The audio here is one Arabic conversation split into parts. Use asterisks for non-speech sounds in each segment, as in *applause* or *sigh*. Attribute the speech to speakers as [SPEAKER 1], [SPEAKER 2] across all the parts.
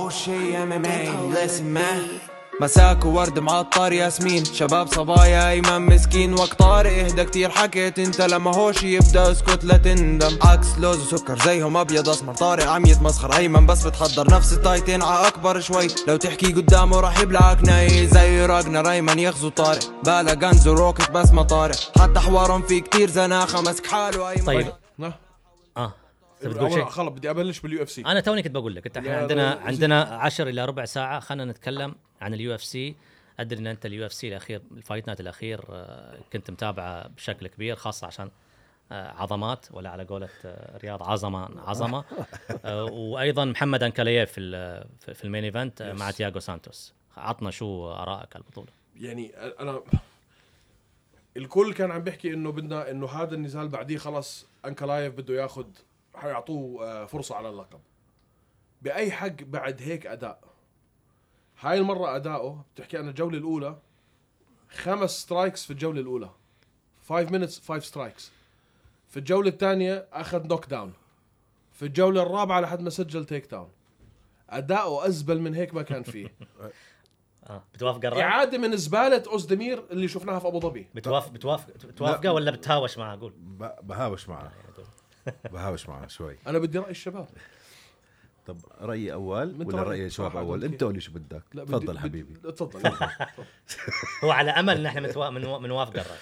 [SPEAKER 1] هوشي ام ام اي لسن مان مساك وورد معطر ياسمين شباب صبايا ايمن مسكين وقت طارق اهدى كتير حكيت انت لما هوش يبدا اسكت لا تندم عكس لوز وسكر زيهم ابيض اسمر طارق عم يتمسخر ايمن بس بتحضر نفس التايتين ع اكبر شوي لو تحكي قدامه راح يبلعك ناي زي راجنا ريمان يغزو طارق بالا غنز وروكت بس ما طارق حتى حوارهم في كتير زناخه مسك حاله ايمن
[SPEAKER 2] طيب
[SPEAKER 3] نه.
[SPEAKER 2] اه انت بتقول
[SPEAKER 3] إيه، أول-
[SPEAKER 2] شيء
[SPEAKER 3] خلص بدي ابلش باليو اف سي
[SPEAKER 2] انا توني كنت بقول لك انت احنا
[SPEAKER 3] لا،
[SPEAKER 2] عندنا
[SPEAKER 3] لا،
[SPEAKER 2] عندنا 10 الى ربع ساعه خلينا نتكلم عن اليو اف سي ادري ان انت اليو اف سي الاخير الفايت نايت الاخير آه، كنت متابعه بشكل كبير خاصه عشان آه، عظمات ولا على قولة آه، رياض عظمة عظمة آه، وأيضا محمد أنكاليف في ال- في في المين ايفنت آه، مع تياغو سانتوس عطنا شو آرائك على البطولة
[SPEAKER 3] يعني انا الكل كان عم بيحكي انه بدنا انه هذا النزال بعديه خلص انكلايف بده ياخذ حيعطوه آه، فرصه على اللقب باي حق بعد هيك اداء هاي المره اداؤه بتحكي عن الجوله الاولى خمس سترايكس في الجوله الاولى 5 minutes 5 سترايكس في الجوله الثانيه اخذ نوك داون في الجوله الرابعه لحد ما سجل تيك داون اداؤه ازبل من هيك ما كان فيه
[SPEAKER 2] آه، بتوافق
[SPEAKER 4] طيب.
[SPEAKER 2] الرأي؟
[SPEAKER 3] اعاده من زباله اوزدمير اللي شفناها في ابو ظبي
[SPEAKER 2] بتوافق بتوافق بتوافقه ولا بتهاوش معه قول
[SPEAKER 4] ب-
[SPEAKER 3] *laughs*
[SPEAKER 4] بهاوش معه
[SPEAKER 3] طيب.
[SPEAKER 4] بهاوش معه شوي
[SPEAKER 3] انا بدي راي الشباب
[SPEAKER 4] طب رايي اول
[SPEAKER 3] أنت
[SPEAKER 4] ولا
[SPEAKER 3] رأيك
[SPEAKER 4] راي
[SPEAKER 3] بصراحة
[SPEAKER 4] الشباب اول
[SPEAKER 3] بدك
[SPEAKER 4] انت قول لي شو بدك
[SPEAKER 3] بدي-
[SPEAKER 4] تفضل
[SPEAKER 3] بدي-
[SPEAKER 4] حبيبي
[SPEAKER 3] تفضل
[SPEAKER 2] هو على أمل إن احنا متوا- منوا- منوافق الرأي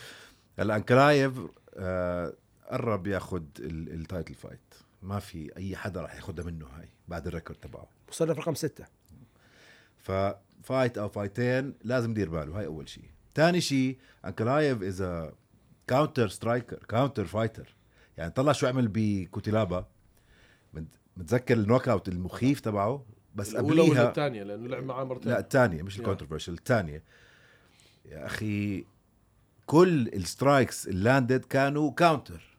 [SPEAKER 4] هلا انكلايف آه، قرب ياخذ ال- التايتل فايت ما في اي حدا راح ياخذها منه هاي بعد الريكورد تبعه
[SPEAKER 5] مصنف رقم ستة
[SPEAKER 4] ففايت او فايتين لازم يدير باله هاي اول شيء ثاني شيء انكلايف از كاونتر سترايكر كاونتر فايتر يعني طلع شو عمل بكوتيلابا مت- متذكر النوك اوت المخيف تبعه *laughs* بس
[SPEAKER 3] الاولى ولا
[SPEAKER 4] قبليها
[SPEAKER 3] الثانيه لانه لعب معاه مرتين
[SPEAKER 4] لا الثانية مش الكونتروفيرشل الثانية يا أخي كل السترايكس اللاندد كانوا كاونتر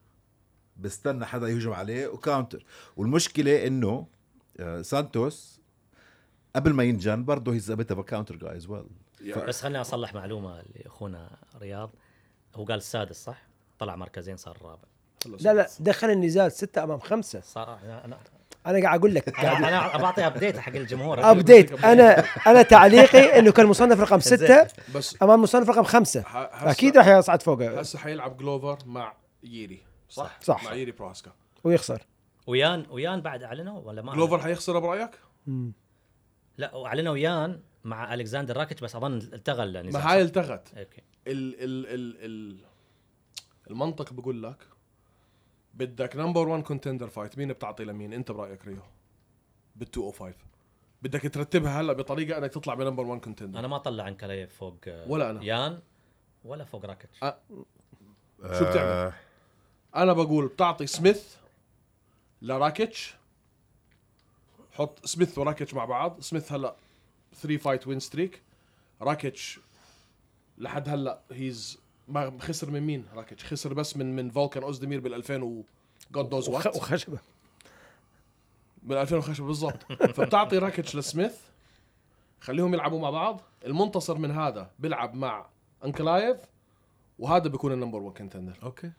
[SPEAKER 4] بستنى حدا يهجم عليه وكاونتر والمشكلة إنه آه، سانتوس قبل ما ينجن برضه هي ثابتها كاونتر جاي از ويل
[SPEAKER 3] يعني
[SPEAKER 2] بس خليني اصلح معلومه لاخونا رياض هو قال السادس صح؟ طلع مركزين صار الرابع
[SPEAKER 3] خلص.
[SPEAKER 5] لا لا دخل النزال ستة أمام خمسة
[SPEAKER 2] صار انا انا
[SPEAKER 5] أنا قاعد أقول لك
[SPEAKER 2] انا, أنا بعطي ابديت حق الجمهور
[SPEAKER 5] *laughs* أبديت أنا *laughs* أنا تعليقي إنه كان مصنف رقم ستة
[SPEAKER 3] بس
[SPEAKER 5] أمام مصنف رقم خمسة
[SPEAKER 3] ح- هسا-
[SPEAKER 5] أكيد راح يصعد فوقه
[SPEAKER 3] هسه حيلعب جلوفر مع ييري صح
[SPEAKER 5] صح.
[SPEAKER 3] مع ييري بروهاسكا
[SPEAKER 5] ويخسر
[SPEAKER 2] ويان ويان بعد اعلنوا ولا ما
[SPEAKER 3] جلوفر
[SPEAKER 2] أعلنوا؟
[SPEAKER 3] حيخسر برايك؟
[SPEAKER 2] لا اعلنوا ويان مع الكساندر راكيتش بس اظن التغى النزال
[SPEAKER 3] ما هاي التغت
[SPEAKER 2] صح؟ اوكي
[SPEAKER 3] ال ال ال ال المنطق بقول لك بدك نمبر 1 كونتندر فايت مين بتعطي لمين انت برايك ريو بال 205 بدك ترتبها هلا بطريقه انك تطلع بنمبر 1 كونتندر
[SPEAKER 2] انا ما طلع عن كلايف فوق آه،
[SPEAKER 3] ولا أنا.
[SPEAKER 2] يان ولا فوق راكيتش
[SPEAKER 3] أ- شو بتعمل؟ انا بقول بتعطي سميث لراكيتش حط سميث وراكيتش مع بعض سميث هلا 3 فايت وين ستريك راكيتش لحد هلا هيز ما خسر من مين راكيتش خسر بس من من فولكان اوزدمير بال 2000 و جود نوز
[SPEAKER 5] وخ-
[SPEAKER 3] وات
[SPEAKER 5] وخشبة
[SPEAKER 3] بال 2000 وخشب بالضبط فبتعطي راكيتش لسميث خليهم يلعبوا مع بعض المنتصر من هذا بيلعب مع انكلايف وهذا بيكون النمبر 1 كنتندر
[SPEAKER 4] اوكي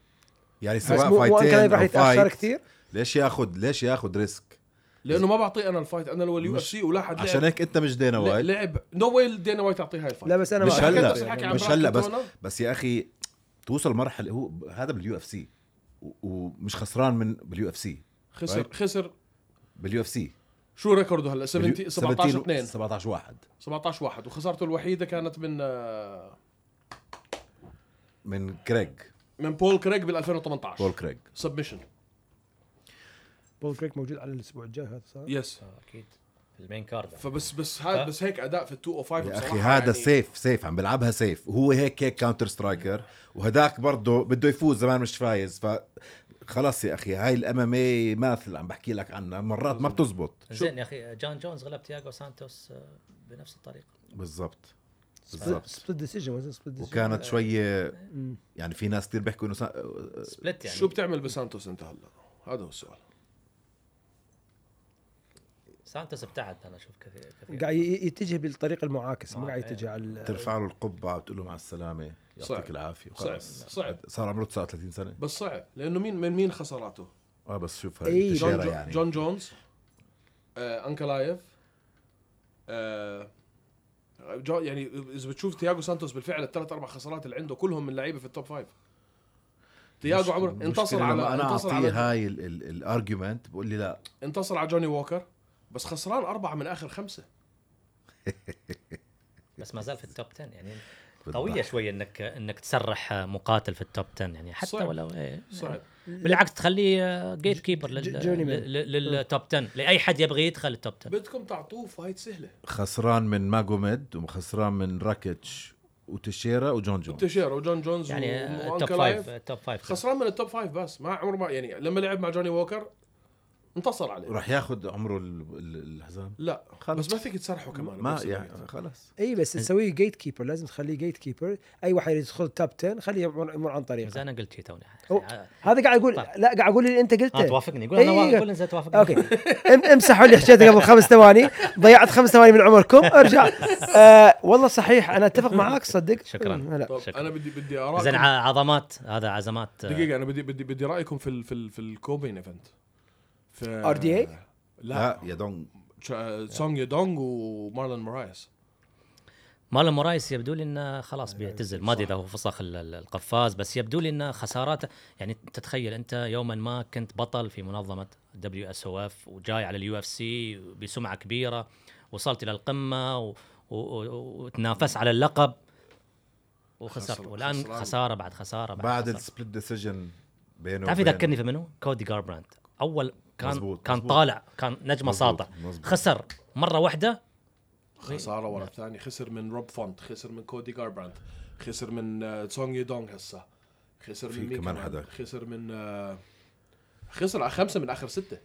[SPEAKER 4] يعني
[SPEAKER 5] بس
[SPEAKER 4] سواء
[SPEAKER 5] مو مو كان
[SPEAKER 4] فايتين
[SPEAKER 5] راح
[SPEAKER 4] أو
[SPEAKER 5] يتأخر
[SPEAKER 4] فايت
[SPEAKER 5] كثير
[SPEAKER 4] ليش ياخذ ليش ياخذ ريسك؟
[SPEAKER 3] لانه ما بعطيه انا الفايت انا ولا يو اف
[SPEAKER 4] مش-
[SPEAKER 3] سي ولا حد لعب.
[SPEAKER 4] عشان هيك أنت مش دينا وايل
[SPEAKER 3] لعب نو واي دينا وايت تعطيه إيه هاي الفايت
[SPEAKER 5] لا بس أنا
[SPEAKER 4] مش
[SPEAKER 5] ما-
[SPEAKER 3] حكيت
[SPEAKER 4] هلا.
[SPEAKER 3] نفس الحكي عن
[SPEAKER 4] مش
[SPEAKER 3] براك
[SPEAKER 4] هلا بس
[SPEAKER 3] كنتونا.
[SPEAKER 4] بس يا اخي توصل مرحله هو هذا باليو اف سي ومش خسران من باليو اف سي
[SPEAKER 3] خسر
[SPEAKER 4] Right.
[SPEAKER 3] خسر
[SPEAKER 4] باليو اف سي
[SPEAKER 3] شو ريكورده هلا 17 17 2
[SPEAKER 4] 17 1
[SPEAKER 3] 17 1 وخسارته الوحيده كانت من آه،
[SPEAKER 4] من كريج
[SPEAKER 3] من بول كريج بال
[SPEAKER 4] بول
[SPEAKER 3] 2018
[SPEAKER 4] كريج
[SPEAKER 3] سبمشن
[SPEAKER 5] بول كريك موجود على الأسبوع الجاي هذا صح؟
[SPEAKER 3] يس
[SPEAKER 2] آه، اكيد المين كارد
[SPEAKER 3] فبس بس هذا بس هيك اداء في ال 205
[SPEAKER 4] يا
[SPEAKER 3] بصراحة
[SPEAKER 4] اخي هذا
[SPEAKER 3] يعني
[SPEAKER 4] سيف سيف عم بيلعبها سيف وهو هيك هيك كاونتر سترايكر وهداك برضه بده يفوز زمان مش فايز ف خلاص يا اخي هاي الام ام اي ماثل إيه عم بحكي لك عنها مرات ما بتزبط
[SPEAKER 2] زين يا اخي جون جونز غلب تياغو سانتوس آه، بنفس الطريقه
[SPEAKER 3] أه،
[SPEAKER 4] بالضبط بالضبط
[SPEAKER 5] سبليت ديسيجن سبليت ديسيجن
[SPEAKER 4] وكانت شويه يعني في ناس كثير بيحكوا انه سا-
[SPEAKER 2] سبلت يعني
[SPEAKER 3] شو بتعمل بسانتوس انت هلا؟ هذا هو السؤال
[SPEAKER 2] سانتوس ابتعد انا اشوف كثير كثير
[SPEAKER 5] قاعد ي- يتجه بالطريقة المعاكسة ما قاعد يتجه على ال-
[SPEAKER 4] ترفع له القبعه وتقول له مع السلامه
[SPEAKER 3] صعب.
[SPEAKER 4] يعطيك العافيه
[SPEAKER 3] صعب
[SPEAKER 4] وخلص
[SPEAKER 3] صعب
[SPEAKER 4] صار عمره 39 سنه
[SPEAKER 3] بس صعب لانه مين من مين خساراته؟
[SPEAKER 4] اه بس شوف
[SPEAKER 5] إيه.
[SPEAKER 4] هاي
[SPEAKER 3] جون
[SPEAKER 4] التشيره
[SPEAKER 3] جو-
[SPEAKER 4] يعني
[SPEAKER 3] uh, جون جونز آه، انكلايف آه، جو- يعني اذا بتشوف تياجو سانتوس بالفعل الثلاث اربع خسارات اللي عنده كلهم من لعيبه في التوب فايف تياجو عمره انتصر على
[SPEAKER 4] انا
[SPEAKER 3] انتصر على
[SPEAKER 4] اعطيه هاي الارجيومنت بقول لي لا
[SPEAKER 3] انتصر على جوني ووكر بس خسران اربعه من اخر خمسه
[SPEAKER 2] بس ما زال في التوب 10 يعني قويه
[SPEAKER 4] بالضبط.
[SPEAKER 2] شويه انك انك تسرح مقاتل في التوب 10 يعني حتى
[SPEAKER 3] صعب.
[SPEAKER 2] ولو إيه.
[SPEAKER 4] نعم.
[SPEAKER 3] صعب
[SPEAKER 2] بالعكس تخليه جيت كيبر
[SPEAKER 5] ج- جوني آه. مان.
[SPEAKER 2] للتوب 10 لاي حد يبغى يدخل التوب 10
[SPEAKER 3] بدكم تعطوه فايت سهله
[SPEAKER 4] خسران من ماجوميد وخسران من راكيتش وتشيرا وجون جون
[SPEAKER 3] تشير وجون جونز
[SPEAKER 2] يعني
[SPEAKER 3] و-
[SPEAKER 2] التوب
[SPEAKER 3] وأنكل
[SPEAKER 2] 5
[SPEAKER 3] لايف.
[SPEAKER 2] التوب 5
[SPEAKER 3] خسران من التوب فايف بس ما عمره ما يعني لما لعب مع جوني ووكر انتصر عليه
[SPEAKER 4] راح ياخذ عمره ال- ال- الحزام
[SPEAKER 3] لا
[SPEAKER 4] خلص.
[SPEAKER 3] بس ما فيك تسرحه كمان
[SPEAKER 4] ما
[SPEAKER 3] بنفس الوقت.
[SPEAKER 4] يعني خلاص
[SPEAKER 5] اي إيه، بس تسويه جيت كيبر لازم تخليه جيت كيبر اي واحد يدخل توب 10 خليه يمر يمر عن
[SPEAKER 2] زي
[SPEAKER 5] طريقه
[SPEAKER 2] انا قلت شي توني
[SPEAKER 5] أو-
[SPEAKER 2] آه،
[SPEAKER 5] هذا قاعد اقول
[SPEAKER 2] طيب.
[SPEAKER 5] لا قاعد اقول اللي انت قلته
[SPEAKER 2] توافقني قول انا
[SPEAKER 5] إيه.
[SPEAKER 2] وا- قول انت توافقني
[SPEAKER 5] اوكي ام- امسحوا اللي حكيته قبل خمس ثواني ضيعت خمس ثواني من عمركم ارجع آه والله صحيح انا اتفق معاك صدق
[SPEAKER 2] شكراً.
[SPEAKER 5] لا.
[SPEAKER 3] طب
[SPEAKER 2] شكراً.
[SPEAKER 3] انا بدي بدي اراء
[SPEAKER 2] زين ع- عظمات هذا عزمات آه،
[SPEAKER 3] دقيقة أنا بدي بدي بدي رأيكم في ال في ال في الكوبين ايفنت في
[SPEAKER 5] RDA؟
[SPEAKER 4] لا
[SPEAKER 3] لا آه،
[SPEAKER 4] يا دونج
[SPEAKER 3] تشا- سونج يدونغ ومارلون مورايس
[SPEAKER 2] مارلون مورايس يبدو لي انه خلاص بيعتزل ما ادري اذا هو فسخ ال- ال- القفاز بس يبدو لي انه خساراته يعني تتخيل انت يوما ما كنت بطل في منظمه دبليو اس او اف وجاي على اليو اف سي بسمعه كبيره وصلت الى القمه و- و- و- وتنافس على اللقب وخسرت
[SPEAKER 3] خسر-
[SPEAKER 2] والان
[SPEAKER 3] خسران.
[SPEAKER 2] خساره بعد خساره بعد,
[SPEAKER 4] بعد
[SPEAKER 2] خسارة.
[SPEAKER 4] السبليت ديسيجن بينه
[SPEAKER 2] تعرف
[SPEAKER 4] وبين-
[SPEAKER 2] يذكرني في منو؟ كودي جاربراند اول كان
[SPEAKER 4] مزبوط،
[SPEAKER 2] كان
[SPEAKER 4] مزبوط.
[SPEAKER 2] طالع كان نجمه
[SPEAKER 4] مزبوط،
[SPEAKER 2] ساطع
[SPEAKER 4] مزبوط.
[SPEAKER 2] خسر مره واحده
[SPEAKER 3] خسارة ورا الثانية خسر من روب فونت خسر من كودي جاربراند خسر من آه، سونج يدونغ هسه خسر
[SPEAKER 4] في
[SPEAKER 3] من مين
[SPEAKER 4] كمان
[SPEAKER 3] كمان
[SPEAKER 4] حدا.
[SPEAKER 3] خسر من آه، خسر على خمسة من آخر ستة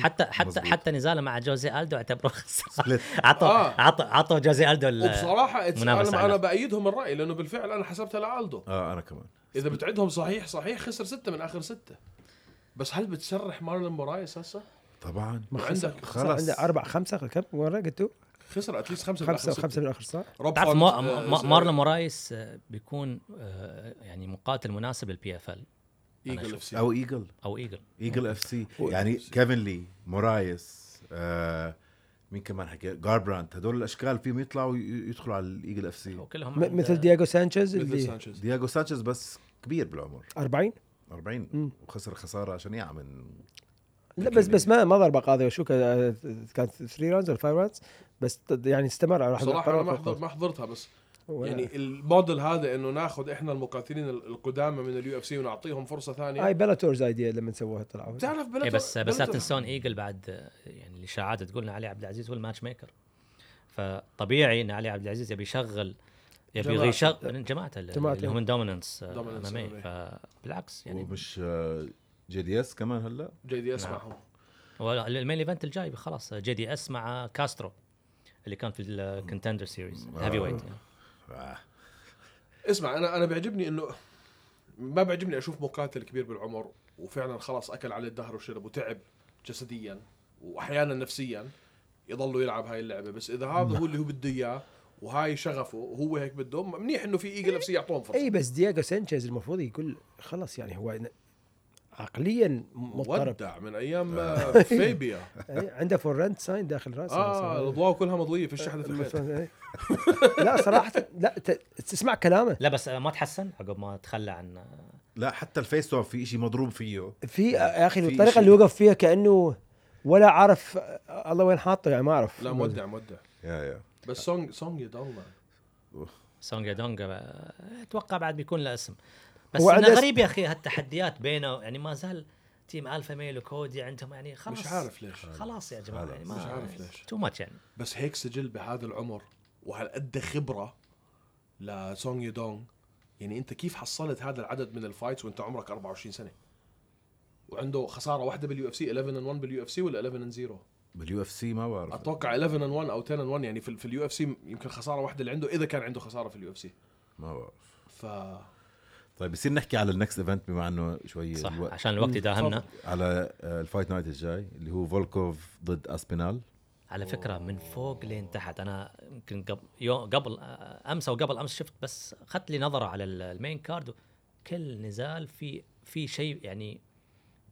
[SPEAKER 2] حتى حتى
[SPEAKER 4] مزبوط.
[SPEAKER 2] حتى نزاله مع جوزي الدو *laughs* اعتبروه خساره
[SPEAKER 4] Split.
[SPEAKER 2] عطوا
[SPEAKER 3] آه.
[SPEAKER 2] عطوا عطوا جوزي الدو ال-
[SPEAKER 3] وبصراحة it's-
[SPEAKER 2] منافسة
[SPEAKER 3] أنا
[SPEAKER 2] على
[SPEAKER 3] أنا
[SPEAKER 2] اللقب.
[SPEAKER 3] بأيدهم الرأي لأنه بالفعل أنا حسبتها لألدو
[SPEAKER 4] اه انا كمان
[SPEAKER 3] إذا بتعدهم صحيح صحيح خسر ستة من آخر ستة بس هل بتسرح مارلون مورايس هسه؟
[SPEAKER 4] طبعا
[SPEAKER 3] عندك
[SPEAKER 5] صار
[SPEAKER 4] خلاص
[SPEAKER 5] عنده اربع خمسه كم مره قلتوا؟
[SPEAKER 3] خسر اتليست خمسة من
[SPEAKER 5] خمسه
[SPEAKER 3] آخر ستة.
[SPEAKER 5] خمسه من اخر صح؟
[SPEAKER 3] روب
[SPEAKER 2] تعرف
[SPEAKER 3] فونت،
[SPEAKER 2] ما-
[SPEAKER 3] آه،
[SPEAKER 2] ما-
[SPEAKER 3] ز-
[SPEAKER 2] مارلون مورايس آه، بيكون آه، يعني مقاتل مناسب للبي اف ال
[SPEAKER 3] ايجل اف سي
[SPEAKER 4] او ايجل
[SPEAKER 2] او ايجل
[SPEAKER 4] ايجل اف سي يعني كيفن لي مورايس آه مين كمان حكى جاربراند هدول الاشكال فيهم يطلعوا ي- يدخلوا على الايجل اف سي
[SPEAKER 2] وكلهم
[SPEAKER 5] م-
[SPEAKER 2] عند-
[SPEAKER 5] مثل دياغو سانشيز
[SPEAKER 3] آه. مثل
[SPEAKER 5] اللي
[SPEAKER 3] سانشيز
[SPEAKER 4] دياغو سانشيز بس كبير بالعمر
[SPEAKER 5] 40
[SPEAKER 4] 40 وخسر خساره شنيعه من
[SPEAKER 5] لا بس بس ما ما ضربه قاضيه شو آه، كان- كانت 3 راوندز ولا 5 راوندز بس ت- يعني استمر على
[SPEAKER 3] صراحة انا ما حضرت ما حضرتها بس يعني الموديل هذا انه ناخذ احنا المقاتلين ال- القدامى من اليو اف سي ونعطيهم فرصه
[SPEAKER 5] هاي
[SPEAKER 3] ثانيه
[SPEAKER 5] بلاتورز ايديا لما سووها طلعوا
[SPEAKER 3] بتعرف بلا
[SPEAKER 2] إيه بس بس لا تنسون ايجل بعد آه، يعني الاشاعات تقولنا علي عبد العزيز هو الماتش ميكر فطبيعي ان علي عبد العزيز يبي يشغل يبي
[SPEAKER 3] جماعته.
[SPEAKER 2] يشغل جماعته
[SPEAKER 5] جماعته.
[SPEAKER 2] اللي اللي هم آه، من دوميننس
[SPEAKER 3] Dominance MMA.
[SPEAKER 2] إيه. فبالعكس يعني
[SPEAKER 4] ومش آه، جي دي اس كمان هلا
[SPEAKER 3] جاي دي
[SPEAKER 2] نعم.
[SPEAKER 3] اسمعهم
[SPEAKER 2] هو المين ايفنت الجاي خلاص آه، جي دي اس مع كاسترو اللي كان في آه، الكونتندر سيريز هيفي ويت
[SPEAKER 4] آه،
[SPEAKER 3] اسمع انا انا بيعجبني انه ما بيعجبني اشوف مقاتل كبير بالعمر وفعلا خلاص اكل عليه الدهر وشرب وتعب جسديا واحيانا نفسيا يضلوا يلعب هاي اللعبه بس اذا هذا هو اللي هو بده اياه وهاي شغفه وهو هيك بده منيح انه في ايجل اف سي يعطوهم فرصه
[SPEAKER 5] اي بس دياغو سانشيز المفروض يقول خلص يعني هو ن- عقليا مضطرب
[SPEAKER 3] ودع من ايام آه، *laughs* فيبيا
[SPEAKER 5] إيه، عنده فور رنت ساين داخل راسه
[SPEAKER 4] آه،
[SPEAKER 3] اه
[SPEAKER 5] صار-
[SPEAKER 3] الاضواء كلها مضويه فيش حدا في الخيط
[SPEAKER 5] مفروض- إيه. لا صراحه لا ت- تسمع كلامه
[SPEAKER 2] لا بس ما تحسن عقب ما تخلى عن
[SPEAKER 4] لا حتى الفيس اوف في شيء مضروب فيه
[SPEAKER 5] في آه، يا اخي
[SPEAKER 4] في
[SPEAKER 5] الطريقه
[SPEAKER 4] شيء.
[SPEAKER 5] اللي وقف فيها كانه ولا عارف الله وين حاطه يعني ما اعرف
[SPEAKER 3] لا مودع مودع
[SPEAKER 4] يا يا
[SPEAKER 3] بس سونج سونج يضل
[SPEAKER 2] سونجا دونجا آه، اتوقع بعد بيكون له اسم بس
[SPEAKER 5] هو
[SPEAKER 2] انه
[SPEAKER 5] عنده اسم-
[SPEAKER 2] غريب يا اخي هالتحديات بينه يعني ما زال تيم الفا ميل وكودي عندهم يعني خلاص
[SPEAKER 3] مش عارف ليش
[SPEAKER 2] خلاص يا جماعه يعني ما
[SPEAKER 3] مش عارف ليش.
[SPEAKER 2] تو ماتش يعني
[SPEAKER 3] بس هيك سجل بهذا العمر وهالقد خبره لسونج يدونغ يعني انت كيف حصلت هذا العدد من الفايتس وانت عمرك 24 سنه وعنده خساره واحده باليو اف سي 11 and 1 باليو اف سي ولا 11 and 0
[SPEAKER 4] باليو اف سي ما بعرف
[SPEAKER 3] اتوقع 11 and 1 او 10 and 1 يعني في, في اليو اف سي يمكن خساره واحده اللي عنده اذا كان عنده خساره في اليو اف سي
[SPEAKER 4] ما بعرف
[SPEAKER 3] ف
[SPEAKER 4] طيب بصير نحكي على النكست ايفنت بما انه شوي
[SPEAKER 2] صح
[SPEAKER 4] الوقت
[SPEAKER 2] عشان الوقت يداهمنا
[SPEAKER 4] على آه، الفايت نايت الجاي اللي هو فولكوف ضد اسبينال
[SPEAKER 2] على فكره من فوق لين تحت انا يمكن قبل يوم قبل آه، امس او قبل امس شفت بس اخذت لي نظره على ال- المين كارد كل نزال في في شيء يعني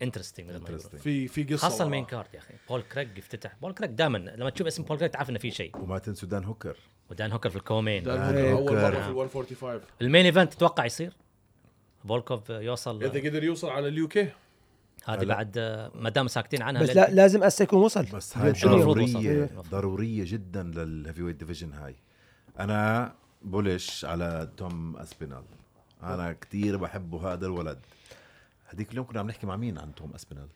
[SPEAKER 2] انترستنج
[SPEAKER 4] Interesting.
[SPEAKER 3] في في قصه
[SPEAKER 2] خاصه
[SPEAKER 3] وراها.
[SPEAKER 2] المين كارد يا اخي بول كريج افتتح بول كريج دائما لما تشوف اسم بول كريج تعرف انه في شيء
[SPEAKER 4] وما تنسوا دان هوكر
[SPEAKER 2] ودان هوكر في الكومين
[SPEAKER 3] دان هوكر
[SPEAKER 4] آه،
[SPEAKER 3] اول
[SPEAKER 4] أوكر.
[SPEAKER 3] مره في ال 145
[SPEAKER 2] المين ايفنت تتوقع يصير فولكوف يوصل
[SPEAKER 3] اذا قدر يوصل على اليو كي
[SPEAKER 2] هذه
[SPEAKER 4] لا.
[SPEAKER 2] بعد آه، ما دام ساكتين عنها
[SPEAKER 5] بس
[SPEAKER 2] لأن-
[SPEAKER 5] لا لازم اسا يكون وصل
[SPEAKER 4] بس هاي
[SPEAKER 2] شنو المفروض
[SPEAKER 4] ضرورية
[SPEAKER 5] إيه.
[SPEAKER 2] وصل؟
[SPEAKER 4] ضرورية جدا للهيفي ويت ديفيجن هاي أنا بولش على توم أسبينال أنا كتير بحبه هذا الولد هديك اليوم كنا عم نحكي مع مين عن توم أسبينال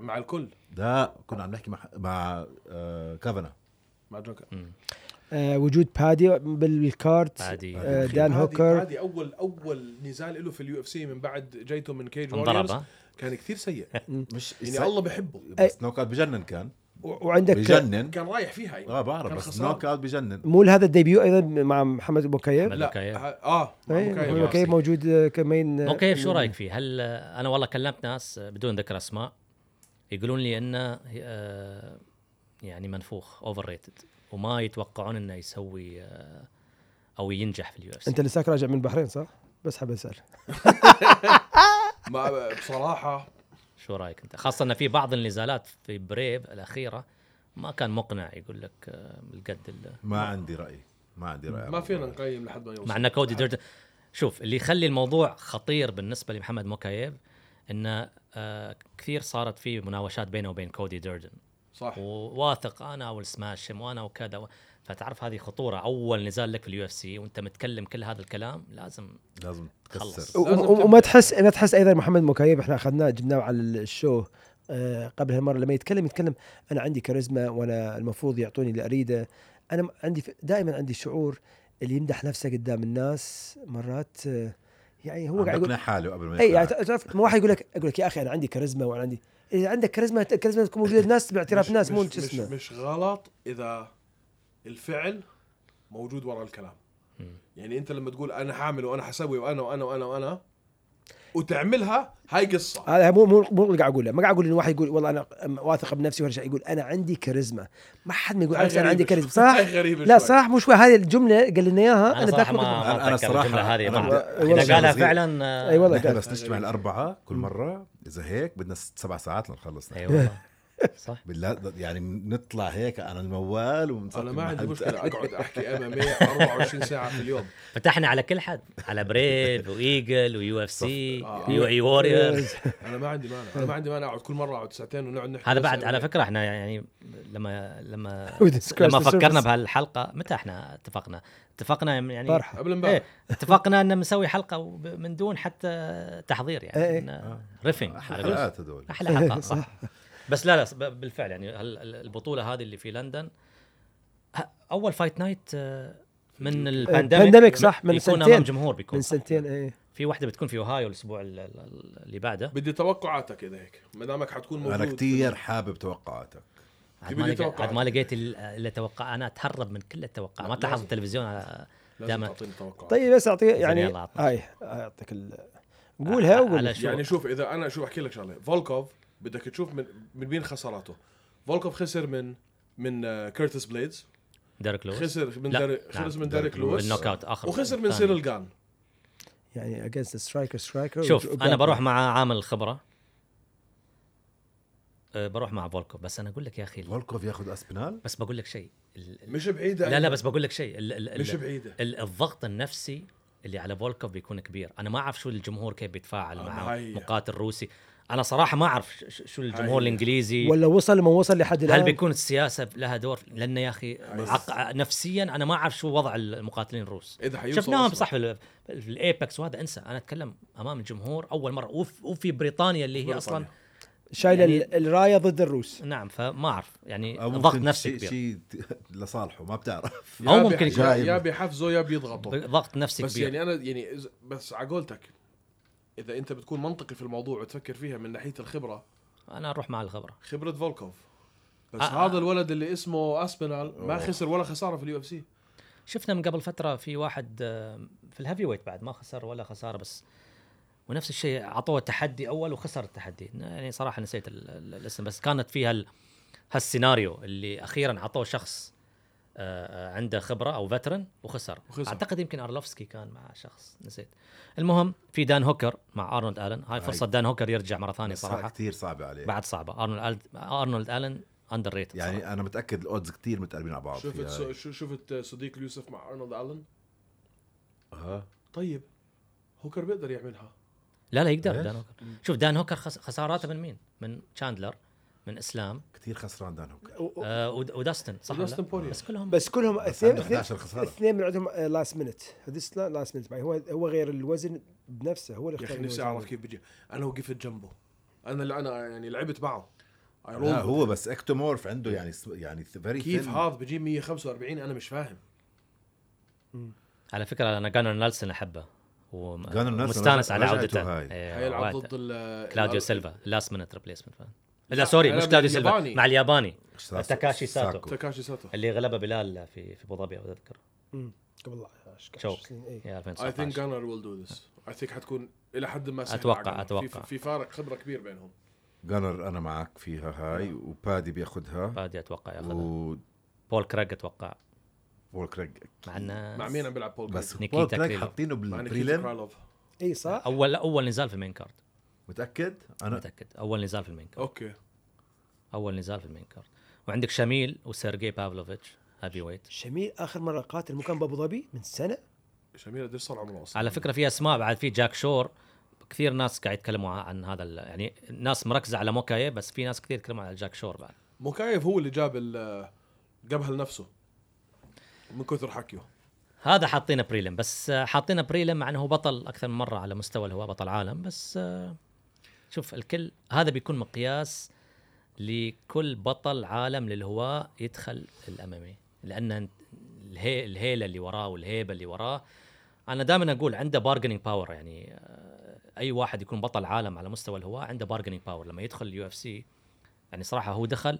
[SPEAKER 3] مع الكل
[SPEAKER 4] لا كنا عم نحكي مع مع آه كافانا
[SPEAKER 3] مع جون كا-
[SPEAKER 5] آه وجود بادي بالكارت
[SPEAKER 2] عادي
[SPEAKER 5] آه،
[SPEAKER 3] أخي،
[SPEAKER 5] دان
[SPEAKER 3] هادي-
[SPEAKER 5] هوكر.
[SPEAKER 3] هادي اول اول نزال له في اليو اف سي من بعد جايته من كيج
[SPEAKER 2] انضرب
[SPEAKER 3] ووريرز
[SPEAKER 2] ها؟
[SPEAKER 3] كان كثير
[SPEAKER 2] *laughs*
[SPEAKER 3] سيء
[SPEAKER 4] مش
[SPEAKER 3] يعني الله بحبه
[SPEAKER 4] بس نوك أوت بجنن كان
[SPEAKER 5] و- وعندك
[SPEAKER 4] بجنن
[SPEAKER 3] كان رايح فيها يعني
[SPEAKER 4] اه بعرف
[SPEAKER 3] كان
[SPEAKER 4] بس
[SPEAKER 3] خسارة.
[SPEAKER 4] نوك أوت بجنن
[SPEAKER 5] مو هذا الديبيو ايضا مع محمد ابو كيف
[SPEAKER 2] محمد
[SPEAKER 3] لا
[SPEAKER 2] مكايف.
[SPEAKER 3] ه- اه مع
[SPEAKER 5] إيه،
[SPEAKER 3] مكايف.
[SPEAKER 5] محمد ابو كيف موجود آه، كمين آه،
[SPEAKER 2] اوكي شو رايك فيه؟ هل آه، انا والله كلمت ناس آه، بدون ذكر اسماء يقولون لي انه آه، يعني منفوخ اوفر ريتد وما يتوقعون انه يسوي آه، او ينجح في اليو اف سي
[SPEAKER 5] انت لساك راجع من البحرين صح؟ بس حاب اسال
[SPEAKER 3] ما بصراحه
[SPEAKER 2] شو رايك انت؟ خاصه ان في بعض النزالات في بريف الاخيره ما كان مقنع يقول لك آه، القد ال-
[SPEAKER 4] ما عندي رأي ما عندي رأي
[SPEAKER 3] ما فينا نقيم لحد ما يوصل
[SPEAKER 2] مع ان كودي ديرت شوف اللي يخلي الموضوع خطير بالنسبه لمحمد موكايف انه آه، كثير صارت في مناوشات بينه وبين كودي ديردن
[SPEAKER 3] صح
[SPEAKER 2] وواثق انا والسماشم وانا وكذا و... فتعرف هذه خطوره اول نزال لك في اليو اف سي وانت متكلم كل هذا الكلام لازم
[SPEAKER 4] لازم
[SPEAKER 2] خلص.
[SPEAKER 4] تكسر
[SPEAKER 5] و- و- وما تحس ما تحس ايضا محمد مكيف احنا اخذناه جبناه على الشو آه، قبل هالمره لما يتكلم يتكلم انا عندي كاريزما وانا المفروض يعطوني اللي اريده انا م- عندي دائما عندي شعور اللي يمدح نفسه قدام الناس مرات آه، يعني هو
[SPEAKER 4] هو
[SPEAKER 5] قاعد
[SPEAKER 4] قاعد
[SPEAKER 5] يقول
[SPEAKER 4] حاله قبل ما
[SPEAKER 5] اي يعني
[SPEAKER 4] يقنعك.
[SPEAKER 5] تعرف ما واحد يقول لك اقول لك يا اخي انا عندي كاريزما وانا عندي اذا عندك كاريزما كاريزما تكون موجوده الناس باعتراف
[SPEAKER 3] مش-
[SPEAKER 5] الناس مو
[SPEAKER 3] مش-
[SPEAKER 5] شو اسمه
[SPEAKER 3] مش, مش غلط اذا الفعل موجود ورا الكلام يعني انت لما تقول انا حامل وانا حسوي وانا وانا وانا وانا وتعملها هاي قصه
[SPEAKER 5] هذا مو مو مو اللي قاعد اقوله ما قاعد اقول ان واحد يقول والله انا واثق بنفسي ولا شيء يقول انا عندي كاريزما ما حد ما يقول
[SPEAKER 3] هاي
[SPEAKER 5] عن نفسه انا
[SPEAKER 3] غريبة
[SPEAKER 5] عندي
[SPEAKER 3] شوي.
[SPEAKER 5] كاريزما صح
[SPEAKER 3] هاي غريبة
[SPEAKER 5] لا
[SPEAKER 3] شوي.
[SPEAKER 5] صح مو شوي هذه الجمله قال لنا اياها
[SPEAKER 2] انا صراحه
[SPEAKER 5] ذاك الوقت-
[SPEAKER 2] ما
[SPEAKER 4] أنا- أنا
[SPEAKER 2] ما اتذكر
[SPEAKER 4] صراحة-
[SPEAKER 2] الجمله هذه
[SPEAKER 4] أنا
[SPEAKER 2] ما
[SPEAKER 4] بدي-
[SPEAKER 2] أتذكر.
[SPEAKER 5] والله
[SPEAKER 2] اذا قالها
[SPEAKER 4] شغل
[SPEAKER 2] فعلا آه،
[SPEAKER 5] اي والله
[SPEAKER 4] نحن
[SPEAKER 2] *laughs*
[SPEAKER 5] قال
[SPEAKER 4] بس
[SPEAKER 3] أيوة.
[SPEAKER 4] نجتمع الأربعة كل مرة إذا هيك بدنا ست- سبع ساعات لنخلص نحن.
[SPEAKER 2] اي
[SPEAKER 4] *laughs*
[SPEAKER 2] والله صح
[SPEAKER 4] بالله يعني نطلع هيك على الموال ومنسكر
[SPEAKER 3] انا ما عندي
[SPEAKER 4] المحل.
[SPEAKER 3] مشكله
[SPEAKER 4] *laughs*
[SPEAKER 3] اقعد احكي ام ام 24 ساعه في اليوم
[SPEAKER 2] فتحنا على كل حد على بريف وايجل ويو اف سي
[SPEAKER 3] آه.
[SPEAKER 2] ويو اي ووريرز
[SPEAKER 3] انا ما عندي مانع انا ما عندي مانع اقعد كل مره اقعد ساعتين ونقعد نحكي
[SPEAKER 2] هذا
[SPEAKER 3] بس
[SPEAKER 2] بعد على
[SPEAKER 3] MMA.
[SPEAKER 2] فكره احنا يعني لما لما
[SPEAKER 5] *laughs* We discussed
[SPEAKER 2] لما
[SPEAKER 5] the
[SPEAKER 2] فكرنا
[SPEAKER 5] surface.
[SPEAKER 2] بهالحلقه متى احنا اتفقنا؟ اتفقنا يعني
[SPEAKER 5] *laughs* طرحه
[SPEAKER 3] قبل امبارح
[SPEAKER 2] ايه اتفقنا ان بنسوي حلقه وب- من دون حتى تحضير
[SPEAKER 5] إيه.
[SPEAKER 2] يعني ريفنج
[SPEAKER 4] حلقات هدول
[SPEAKER 2] احلى حلقه
[SPEAKER 5] صح.
[SPEAKER 2] صح بس لا لا ص- ب- بالفعل يعني هال- ال- البطوله هذه اللي في لندن ه- اول فايت نايت آه، من البانديميك
[SPEAKER 5] إيه، pandemic، صح، من
[SPEAKER 2] بيكون
[SPEAKER 5] سنتين.
[SPEAKER 2] امام جمهور بيكون
[SPEAKER 5] من
[SPEAKER 2] صح.
[SPEAKER 5] سنتين إيه. اي
[SPEAKER 2] في واحده بتكون في اوهايو الاسبوع ال- ال- اللي بعده
[SPEAKER 3] بدي توقعاتك اذا هيك ما دامك حتكون موجود
[SPEAKER 4] انا كتير حابب توقعاتك
[SPEAKER 2] عاد
[SPEAKER 3] بدي
[SPEAKER 2] ما لقيت
[SPEAKER 3] توقعات.
[SPEAKER 2] عاد ما لقيت ال- الا توقع انا اتهرب من كل التوقع ما تلاحظ التلفزيون آه،
[SPEAKER 3] لازم
[SPEAKER 2] دائما
[SPEAKER 3] تعطيني توقعات
[SPEAKER 5] طيب بس اعطيه يعني
[SPEAKER 2] يلا عطنا.
[SPEAKER 5] هاي اعطيك ال- قولها وقول
[SPEAKER 2] على شو
[SPEAKER 3] يعني شوف اذا انا شو احكي لك شغله فولكوف بدك تشوف من من مين خساراته فولكوف خسر من من آه، كيرتس بليدز
[SPEAKER 2] ديريك لويس
[SPEAKER 3] خسر من
[SPEAKER 2] لا،
[SPEAKER 3] داري
[SPEAKER 2] نعم.
[SPEAKER 3] خسر من ديريك لويس
[SPEAKER 2] بالنوك اوت اخر
[SPEAKER 3] وخسر من
[SPEAKER 2] ثاني.
[SPEAKER 3] سيرل جان
[SPEAKER 5] يعني اجينست سترايكر سترايكر
[SPEAKER 2] شوف انا بروح مع عامل الخبره أه، بروح مع فولكوف بس انا اقول لك يا اخي ال-
[SPEAKER 4] فولكوف ياخذ اسبينال
[SPEAKER 2] بس بقول لك شيء ال- ال-
[SPEAKER 3] مش بعيده
[SPEAKER 2] لا لا بس بقول لك شيء ال- ال- ال-
[SPEAKER 3] مش بعيده
[SPEAKER 2] ال- الضغط النفسي اللي على فولكوف بيكون كبير انا ما اعرف شو الجمهور كيف بيتفاعل
[SPEAKER 3] آه،
[SPEAKER 2] مع
[SPEAKER 3] هاي.
[SPEAKER 2] مقاتل روسي انا صراحه ما اعرف ش- شو الجمهور
[SPEAKER 3] هاي.
[SPEAKER 2] الانجليزي
[SPEAKER 5] ولا وصل ما وصل لحد الان
[SPEAKER 2] هل بيكون السياسه لها دور لان يا اخي عق... نفسيا انا ما اعرف شو وضع المقاتلين الروس
[SPEAKER 3] اذا حيوصل
[SPEAKER 2] شفناهم
[SPEAKER 3] أيوة، أصلاً.
[SPEAKER 2] صح في, ال- في الايبكس وهذا انسى انا اتكلم امام الجمهور اول مره وف... وفي بريطانيا اللي هي
[SPEAKER 3] بريطانيا.
[SPEAKER 2] اصلا
[SPEAKER 5] شايله
[SPEAKER 2] يعني-
[SPEAKER 5] ال- الرايه ضد الروس
[SPEAKER 2] نعم فما اعرف يعني
[SPEAKER 3] آه،
[SPEAKER 4] أو
[SPEAKER 2] ضغط
[SPEAKER 4] ممكن
[SPEAKER 2] نفسي
[SPEAKER 4] شيء-
[SPEAKER 2] كبير
[SPEAKER 4] شيء *laughs* ت- لصالحه ما بتعرف
[SPEAKER 2] أو
[SPEAKER 3] يا
[SPEAKER 2] ممكن
[SPEAKER 3] بيح-
[SPEAKER 2] يكون.
[SPEAKER 3] يا- يا بيحفزوا يا بيضغطوا
[SPEAKER 2] ضغط نفسي
[SPEAKER 3] بس
[SPEAKER 2] كبير
[SPEAKER 3] يعني انا يعني إذا- بس على قولتك اذا انت بتكون منطقي في الموضوع وتفكر فيها من ناحيه الخبره
[SPEAKER 2] انا اروح مع الخبره
[SPEAKER 3] خبره فولكوف بس
[SPEAKER 2] آه،
[SPEAKER 3] هذا الولد اللي اسمه اسبينال ما خسر ولا خساره في اليو اف سي
[SPEAKER 2] شفنا من قبل فتره في واحد آه، في الهيفي ويت بعد ما خسر ولا خساره بس ونفس الشيء اعطوه تحدي اول وخسر التحدي يعني صراحه نسيت ال- ال- الاسم بس كانت فيها هالسيناريو اللي اخيرا اعطوه شخص آه، آه، عنده خبره او فترن وخسر.
[SPEAKER 3] وخسر.
[SPEAKER 2] اعتقد يمكن ارلوفسكي كان مع شخص نسيت المهم في دان هوكر مع ارنولد الن هاي فرصه دان هوكر يرجع مره ثانيه
[SPEAKER 4] بس صراحه
[SPEAKER 2] صراحه
[SPEAKER 4] كثير صعبه عليه
[SPEAKER 2] بعد صعبه ارنولد الن ارنولد الن اندر ريتد
[SPEAKER 4] يعني انا متاكد الاودز كثير متقربين على بعض
[SPEAKER 3] شفت
[SPEAKER 4] فيها.
[SPEAKER 3] سو- شو- شفت صديق اليوسف مع ارنولد الن
[SPEAKER 4] آه.
[SPEAKER 3] طيب هوكر بيقدر يعملها
[SPEAKER 2] لا لا يقدر
[SPEAKER 4] ليش؟
[SPEAKER 2] دان هوكر شوف دان هوكر خس- خساراته من مين؟ من تشاندلر من اسلام
[SPEAKER 4] كثير خسران دان هوكر
[SPEAKER 2] آه ود- وداستن صح ولا لا؟
[SPEAKER 3] وداستن بوريا.
[SPEAKER 2] بس كلهم
[SPEAKER 5] بس كلهم
[SPEAKER 4] بس
[SPEAKER 5] اثنين
[SPEAKER 4] عنده
[SPEAKER 5] اثنين
[SPEAKER 4] 11 خساره
[SPEAKER 5] اثنين من عندهم لاست مينت هذيس لاست مينت هو هو غير الوزن بنفسه هو اللي
[SPEAKER 3] يا
[SPEAKER 5] اختار
[SPEAKER 3] اخي نفسي
[SPEAKER 5] الوزن.
[SPEAKER 3] اعرف كيف بيجي انا وقفت جنبه انا اللي انا يعني لعبت معه I
[SPEAKER 4] لا
[SPEAKER 3] rolled
[SPEAKER 4] هو بس اكتومورف عنده يعني س- يعني فيري
[SPEAKER 3] يعني كيف هذا بجيب 145 انا مش فاهم
[SPEAKER 2] على فكره انا جانر نيلسون احبه وم-
[SPEAKER 4] جانر نيلسون
[SPEAKER 2] ومستانس
[SPEAKER 4] رجع-
[SPEAKER 2] على
[SPEAKER 4] رجعته
[SPEAKER 2] عودته
[SPEAKER 4] هاي.
[SPEAKER 2] إيه،
[SPEAKER 3] حيلعب
[SPEAKER 2] عودته.
[SPEAKER 3] ضد ال-
[SPEAKER 2] كلاديو
[SPEAKER 3] ال-
[SPEAKER 2] سيلفا لاست مينت ريبليسمنت لا سوري مش
[SPEAKER 3] هيلعب
[SPEAKER 2] كلاديو
[SPEAKER 3] الياباني.
[SPEAKER 2] سيلفا مع الياباني
[SPEAKER 4] ساسو-
[SPEAKER 2] تاكاشي ساتو.
[SPEAKER 3] تاكاشي ساتو
[SPEAKER 2] اللي غلبه بلال في في ابو ظبي لو اتذكر
[SPEAKER 5] مم. قبل 10
[SPEAKER 2] شوك.
[SPEAKER 5] سنين إيه.
[SPEAKER 2] يا
[SPEAKER 3] اي ثينك
[SPEAKER 2] 2019
[SPEAKER 3] جانر ويل دو ذس اي ثينك حتكون الى حد ما سهلة
[SPEAKER 2] أتوقع-
[SPEAKER 3] على Gunner.
[SPEAKER 2] أتوقع.
[SPEAKER 3] في, في فارق خبره كبير بينهم
[SPEAKER 4] جانر انا معك فيها هاي
[SPEAKER 3] نعم.
[SPEAKER 4] وبادي بياخذها
[SPEAKER 2] بادي اتوقع ياخذها
[SPEAKER 4] وبول
[SPEAKER 2] بول كريج اتوقع
[SPEAKER 4] كريج
[SPEAKER 2] مع انه
[SPEAKER 3] مع مين عم بيلعب بول
[SPEAKER 4] بس
[SPEAKER 3] جريج؟
[SPEAKER 4] بول
[SPEAKER 2] نيكيتا
[SPEAKER 4] كريج
[SPEAKER 2] كريلوف.
[SPEAKER 4] حاطينه
[SPEAKER 3] مع نيكيتا
[SPEAKER 4] بالبريلم
[SPEAKER 3] كرالوف
[SPEAKER 5] اي إيه، صح
[SPEAKER 2] اول اول نزال في المين كارد
[SPEAKER 4] متاكد انا
[SPEAKER 2] متاكد اول نزال في المين كارد
[SPEAKER 3] اوكي
[SPEAKER 2] اول نزال في المين كارد وعندك شميل وسيرجي بافلوفيتش هابي ويت
[SPEAKER 5] شميل اخر مره قاتل مكان بابو ظبي من سنه
[SPEAKER 3] شميل قديش صار عمره اصلا؟
[SPEAKER 2] على فكره في اسماء بعد في جاك شور كثير ناس قاعد يتكلموا عن هذا ال- يعني الناس مركزه على موكاي بس في ناس كثير يتكلموا على جاك شور بعد
[SPEAKER 3] موكايف هو اللي جاب ال- جابها لنفسه من كثر حكيه
[SPEAKER 2] هذا حاطينه بريلم بس آه، حاطينه بريلم مع انه هو بطل اكثر من مره على مستوى اللي هو بطل عالم بس آه، شوف الكل هذا بيكون مقياس لكل بطل عالم للهواء يدخل الامامي لان أنت- الهي الهيله اللي وراه والهيبه اللي وراه انا دائما اقول عنده بارجنينج باور يعني آه، اي واحد يكون بطل عالم على مستوى الهواء عنده بارجنينج باور لما يدخل اليو اف سي يعني صراحه هو دخل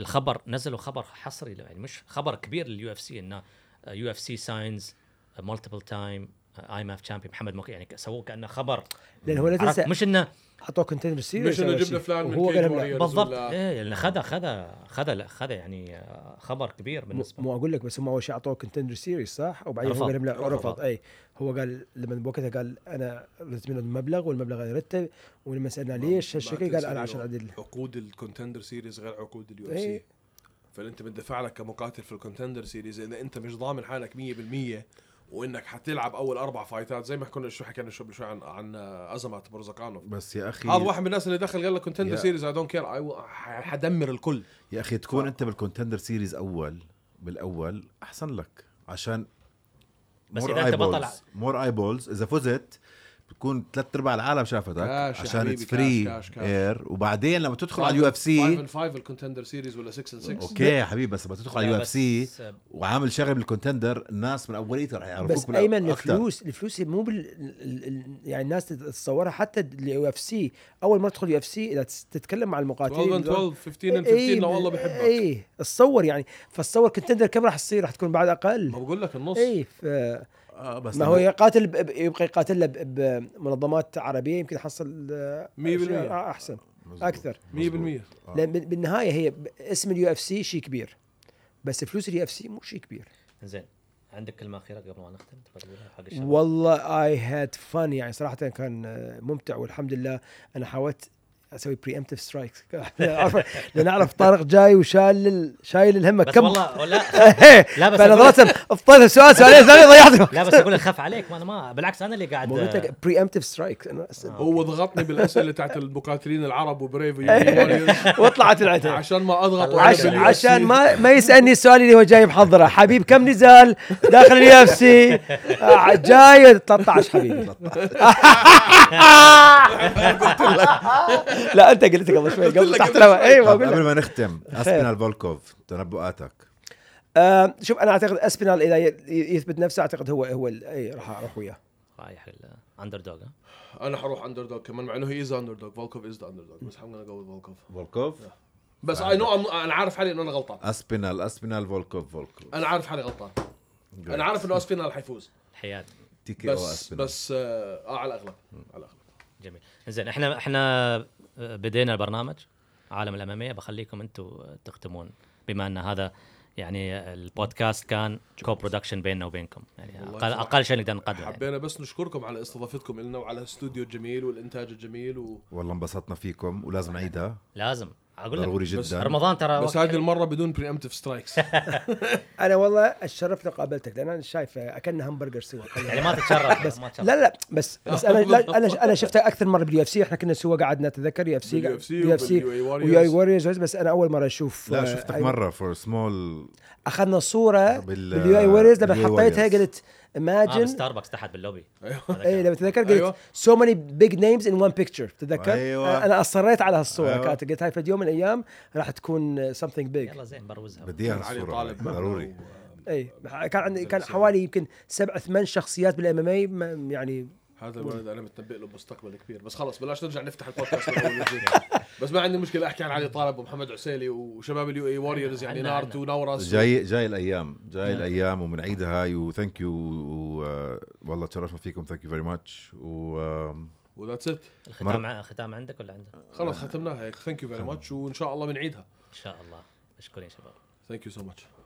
[SPEAKER 2] الخبر نزلوا خبر حصري له، يعني مش خبر كبير لليو اف سي انه يو اف سي ساينز مالتيبل تايم اي ام اف تشامبيون محمد موكي يعني سووه كانه خبر
[SPEAKER 5] لان هو لا
[SPEAKER 2] عرفت؟
[SPEAKER 5] تنسى
[SPEAKER 2] مش انه
[SPEAKER 5] حطوه كونتينر
[SPEAKER 3] مش
[SPEAKER 5] سيريس
[SPEAKER 3] إنه
[SPEAKER 5] على
[SPEAKER 3] جبنا
[SPEAKER 5] شيء.
[SPEAKER 3] فلان من
[SPEAKER 5] وهو
[SPEAKER 3] كيج
[SPEAKER 5] قال لهم لا.
[SPEAKER 3] وورير.
[SPEAKER 2] بالضبط
[SPEAKER 3] ولا-
[SPEAKER 2] ايه يعني خذا خذا خذا خذا يعني آه، خبر كبير
[SPEAKER 5] مو-
[SPEAKER 2] بالنسبه
[SPEAKER 5] مو اقول لك بس هم اول شيء اعطوه كونتندر سيريز صح وبعدين
[SPEAKER 2] رفض.
[SPEAKER 5] هو قال لهم لا
[SPEAKER 2] رفض.
[SPEAKER 5] رفض اي إيه. هو قال لما بوقتها قال انا رزت منه المبلغ والمبلغ هذا رتب ولما سالنا ليش هالشكل قال انا عشان اعدل
[SPEAKER 3] عقود الكونتندر سيريز غير عقود اليو اف سي
[SPEAKER 5] إيه.
[SPEAKER 3] فانت بتدفع لك كمقاتل في الكونتندر سيريز اذا انت مش ضامن حالك 100% وانك حتلعب اول اربع فايتات زي ما كنا شو حكينا شو شوي عن عن ازمه برزقانوف
[SPEAKER 4] بس يا اخي
[SPEAKER 3] هذا آه، واحد من الناس اللي دخل قال لك كونتندر
[SPEAKER 4] يا-
[SPEAKER 3] سيريز اي دونت كير حدمر الكل
[SPEAKER 4] يا اخي تكون انت بالكونتندر سيريز اول بالاول احسن لك عشان
[SPEAKER 2] بس إذا أنت بطل
[SPEAKER 4] مور اي بولز اذا فزت بتكون ثلاث ارباع العالم شافتك
[SPEAKER 3] كاش يا
[SPEAKER 4] عشان
[SPEAKER 3] حبيبي،
[SPEAKER 4] اتس فري
[SPEAKER 3] كاش، كاش، كاش.
[SPEAKER 4] اير وبعدين لما تدخل على اليو اف
[SPEAKER 3] 5
[SPEAKER 4] سي
[SPEAKER 3] and 5 الكونتندر سيريز ولا 6 and 6
[SPEAKER 4] اوكي يا حبيبي بس لما تدخل على
[SPEAKER 2] لا،
[SPEAKER 4] اليو اف
[SPEAKER 2] بس- آه،
[SPEAKER 4] سي وعامل شغل بالكونتندر الناس من اوليتها رح يعرفوك
[SPEAKER 5] بس
[SPEAKER 4] بال- أكتر.
[SPEAKER 5] ايمن الفلوس الفلوس مو بال ال- ال- يعني الناس تتصورها حتى اليو اف سي اول ما تدخل يو اف سي اذا تس- تتكلم مع
[SPEAKER 3] 12
[SPEAKER 5] المقاتلين
[SPEAKER 3] and 12 15 and 15 لو والله
[SPEAKER 4] إيه،
[SPEAKER 3] بحبك
[SPEAKER 5] اي تصور يعني فتصور كونتندر كم راح تصير راح تكون بعد
[SPEAKER 3] ما
[SPEAKER 5] اقل
[SPEAKER 3] بقول لك النص
[SPEAKER 4] إيه.
[SPEAKER 5] اي ف
[SPEAKER 4] آه بس
[SPEAKER 5] ما هو يقاتل ب- ب- يبقى يقاتل له ب- بمنظمات عربيه يمكن يحصل آه،
[SPEAKER 3] 100%
[SPEAKER 4] إيه.
[SPEAKER 5] أشياء احسن
[SPEAKER 4] مزبوط.
[SPEAKER 5] اكثر
[SPEAKER 3] 100%
[SPEAKER 5] لان بال- بالنهايه هي ب- اسم اليو اف سي شيء كبير بس فلوس اليو اف سي مو شيء كبير
[SPEAKER 2] زين عندك كلمه اخيره قبل ما نختم تبغى تقولها حق الشباب
[SPEAKER 5] والله اي هاد فن يعني صراحه كان آه، ممتع والحمد لله انا حاولت اسوي بري امتيف سترايكس *laughs* لان اعرف طارق جاي وشايل ال- شايل الهمه
[SPEAKER 2] بس
[SPEAKER 5] كم *laughs*
[SPEAKER 2] والله لا لا،
[SPEAKER 5] لا
[SPEAKER 2] بس
[SPEAKER 5] بس فانا
[SPEAKER 2] أقول-
[SPEAKER 5] ضربت افطيت سؤال سؤالين ثانيه ضيعت الوقت.
[SPEAKER 2] لا بس اقول لك خاف عليك ما انا ما بالعكس انا اللي قاعد
[SPEAKER 5] *laughs* مو
[SPEAKER 2] آه،
[SPEAKER 5] بري امتيف سترايكس انا أس-
[SPEAKER 2] *laughs*
[SPEAKER 3] هو ضغطني بالاسئله تاعت المقاتلين العرب
[SPEAKER 5] *laughs*
[SPEAKER 3] وبريف ويونيون.
[SPEAKER 5] وطلعت العتاب
[SPEAKER 3] عشان ما اضغط وأنا
[SPEAKER 5] عش...
[SPEAKER 3] بال UFC.
[SPEAKER 5] عشان ما ما يسالني السؤال اللي هو جاي محضره حبيب كم نزال داخل اليو اف سي آه، جاي 13 حبيبي *laughs* لا انت قلت قبل شوي قبل تحت الهواء ايوه
[SPEAKER 4] طب
[SPEAKER 5] اقول لك
[SPEAKER 4] قبل ما نختم اسبينال فولكوف تنبؤاتك
[SPEAKER 5] آه، شوف انا اعتقد اسبينال اذا ي- ي- يثبت نفسه اعتقد هو هو ال- اي راح اروح وياه
[SPEAKER 2] رايح الاندر دوغ
[SPEAKER 3] انا حروح اندر دوغ كمان مع انه هي از اندر دوغ فولكوف از ذا اندر دوغ بس حمقنا قوي فولكوف
[SPEAKER 4] فولكوف
[SPEAKER 3] بس اي نو انا عارف حالي انه انا غلطان
[SPEAKER 4] اسبينال اسبينال فولكوف فولكوف
[SPEAKER 3] انا عارف حالي غلطان انا عارف انه اسفينال حيفوز
[SPEAKER 2] الحياه
[SPEAKER 4] تي كي او
[SPEAKER 3] بس
[SPEAKER 4] اسبينال
[SPEAKER 3] بس آه آه، على الاغلب على الاغلب
[SPEAKER 2] جميل زين آه، احنا احنا بدينا البرنامج عالم الاماميه بخليكم انتم تختمون بما ان هذا يعني البودكاست كان كو برودكشن بيننا وبينكم يعني
[SPEAKER 3] والله
[SPEAKER 2] اقل
[SPEAKER 3] صراحة
[SPEAKER 2] اقل شيء نقدر نقدمه يعني.
[SPEAKER 3] حبينا بس نشكركم على استضافتكم لنا وعلى الاستوديو الجميل والانتاج الجميل و...
[SPEAKER 4] والله انبسطنا فيكم ولازم نعيدها
[SPEAKER 2] لازم اقول لك
[SPEAKER 4] ضروري
[SPEAKER 3] بس
[SPEAKER 4] جدا
[SPEAKER 2] رمضان ترى
[SPEAKER 3] بس
[SPEAKER 2] وقت
[SPEAKER 3] هذه
[SPEAKER 2] حلو.
[SPEAKER 3] المره بدون بري امتيف سترايكس
[SPEAKER 5] انا والله اتشرفت لو قابلتك لان انا شايف اكلنا همبرجر سوا
[SPEAKER 2] يعني ما
[SPEAKER 5] *laughs*
[SPEAKER 2] تتشرف
[SPEAKER 5] بس
[SPEAKER 2] ما تتشرف
[SPEAKER 5] لا لا بس بس انا لا انا انا شفتها اكثر مره باليو اف سي احنا كنا سوا قعدنا اتذكر يو اف سي
[SPEAKER 3] باليو اف سي
[SPEAKER 5] يو اف سي
[SPEAKER 3] وباليو اي واريورز.
[SPEAKER 5] ويو اي واريورز بس انا اول مره اشوف
[SPEAKER 4] لا
[SPEAKER 5] آه،
[SPEAKER 4] شفتك
[SPEAKER 5] أي-
[SPEAKER 4] مره فور سمول
[SPEAKER 5] اخذنا صوره
[SPEAKER 4] بال-
[SPEAKER 5] باليو اي واريورز لما
[SPEAKER 4] باليو اي
[SPEAKER 5] حطيتها
[SPEAKER 4] واريورز.
[SPEAKER 5] قلت
[SPEAKER 2] آه أيوه.
[SPEAKER 5] imagine
[SPEAKER 2] ستاربكس تحت
[SPEAKER 5] *laughs*
[SPEAKER 2] باللوبي
[SPEAKER 5] إيه، اي لما تتذكر
[SPEAKER 3] أيوة.
[SPEAKER 5] قلت سو ماني بيج نيمز ان وان بيكتشر تتذكر
[SPEAKER 4] أيوة.
[SPEAKER 5] انا اصريت آه، على هالصوره
[SPEAKER 4] أيوة.
[SPEAKER 5] أيوة. كانت قلت هاي في يوم من الايام راح تكون something big
[SPEAKER 2] يلا زين بروزها
[SPEAKER 4] بدي اياها
[SPEAKER 3] علي
[SPEAKER 4] الصورة
[SPEAKER 3] طالب
[SPEAKER 4] ضروري
[SPEAKER 5] اي إيه، كان عندي كان حوالي يمكن سبع ثمان شخصيات بالام ام اي يعني
[SPEAKER 3] هذا الولد انا متنبئ له بمستقبل كبير بس خلص بلاش نرجع نفتح البودكاست من أول وجديد. بس ما عندي مشكله احكي عن علي طالب ومحمد عسيلي وشباب اليو اي واريورز يعني
[SPEAKER 2] عنا-
[SPEAKER 3] نارت ونورس
[SPEAKER 4] جاي جاي الايام
[SPEAKER 3] نعم.
[SPEAKER 4] جاي الايام وبنعيدها هاي وثانك يو والله تشرفنا فيكم ثانك يو فيري ماتش و آم،
[SPEAKER 3] وذاتس ات
[SPEAKER 2] الختام ع- الختام عندك ولا عندك ان
[SPEAKER 3] خلص ختمناها هيك ثانك يو فيري ماتش وان شاء الله بنعيدها
[SPEAKER 2] شاء الله مشكورين شباب
[SPEAKER 3] ثانك يو سو ماتش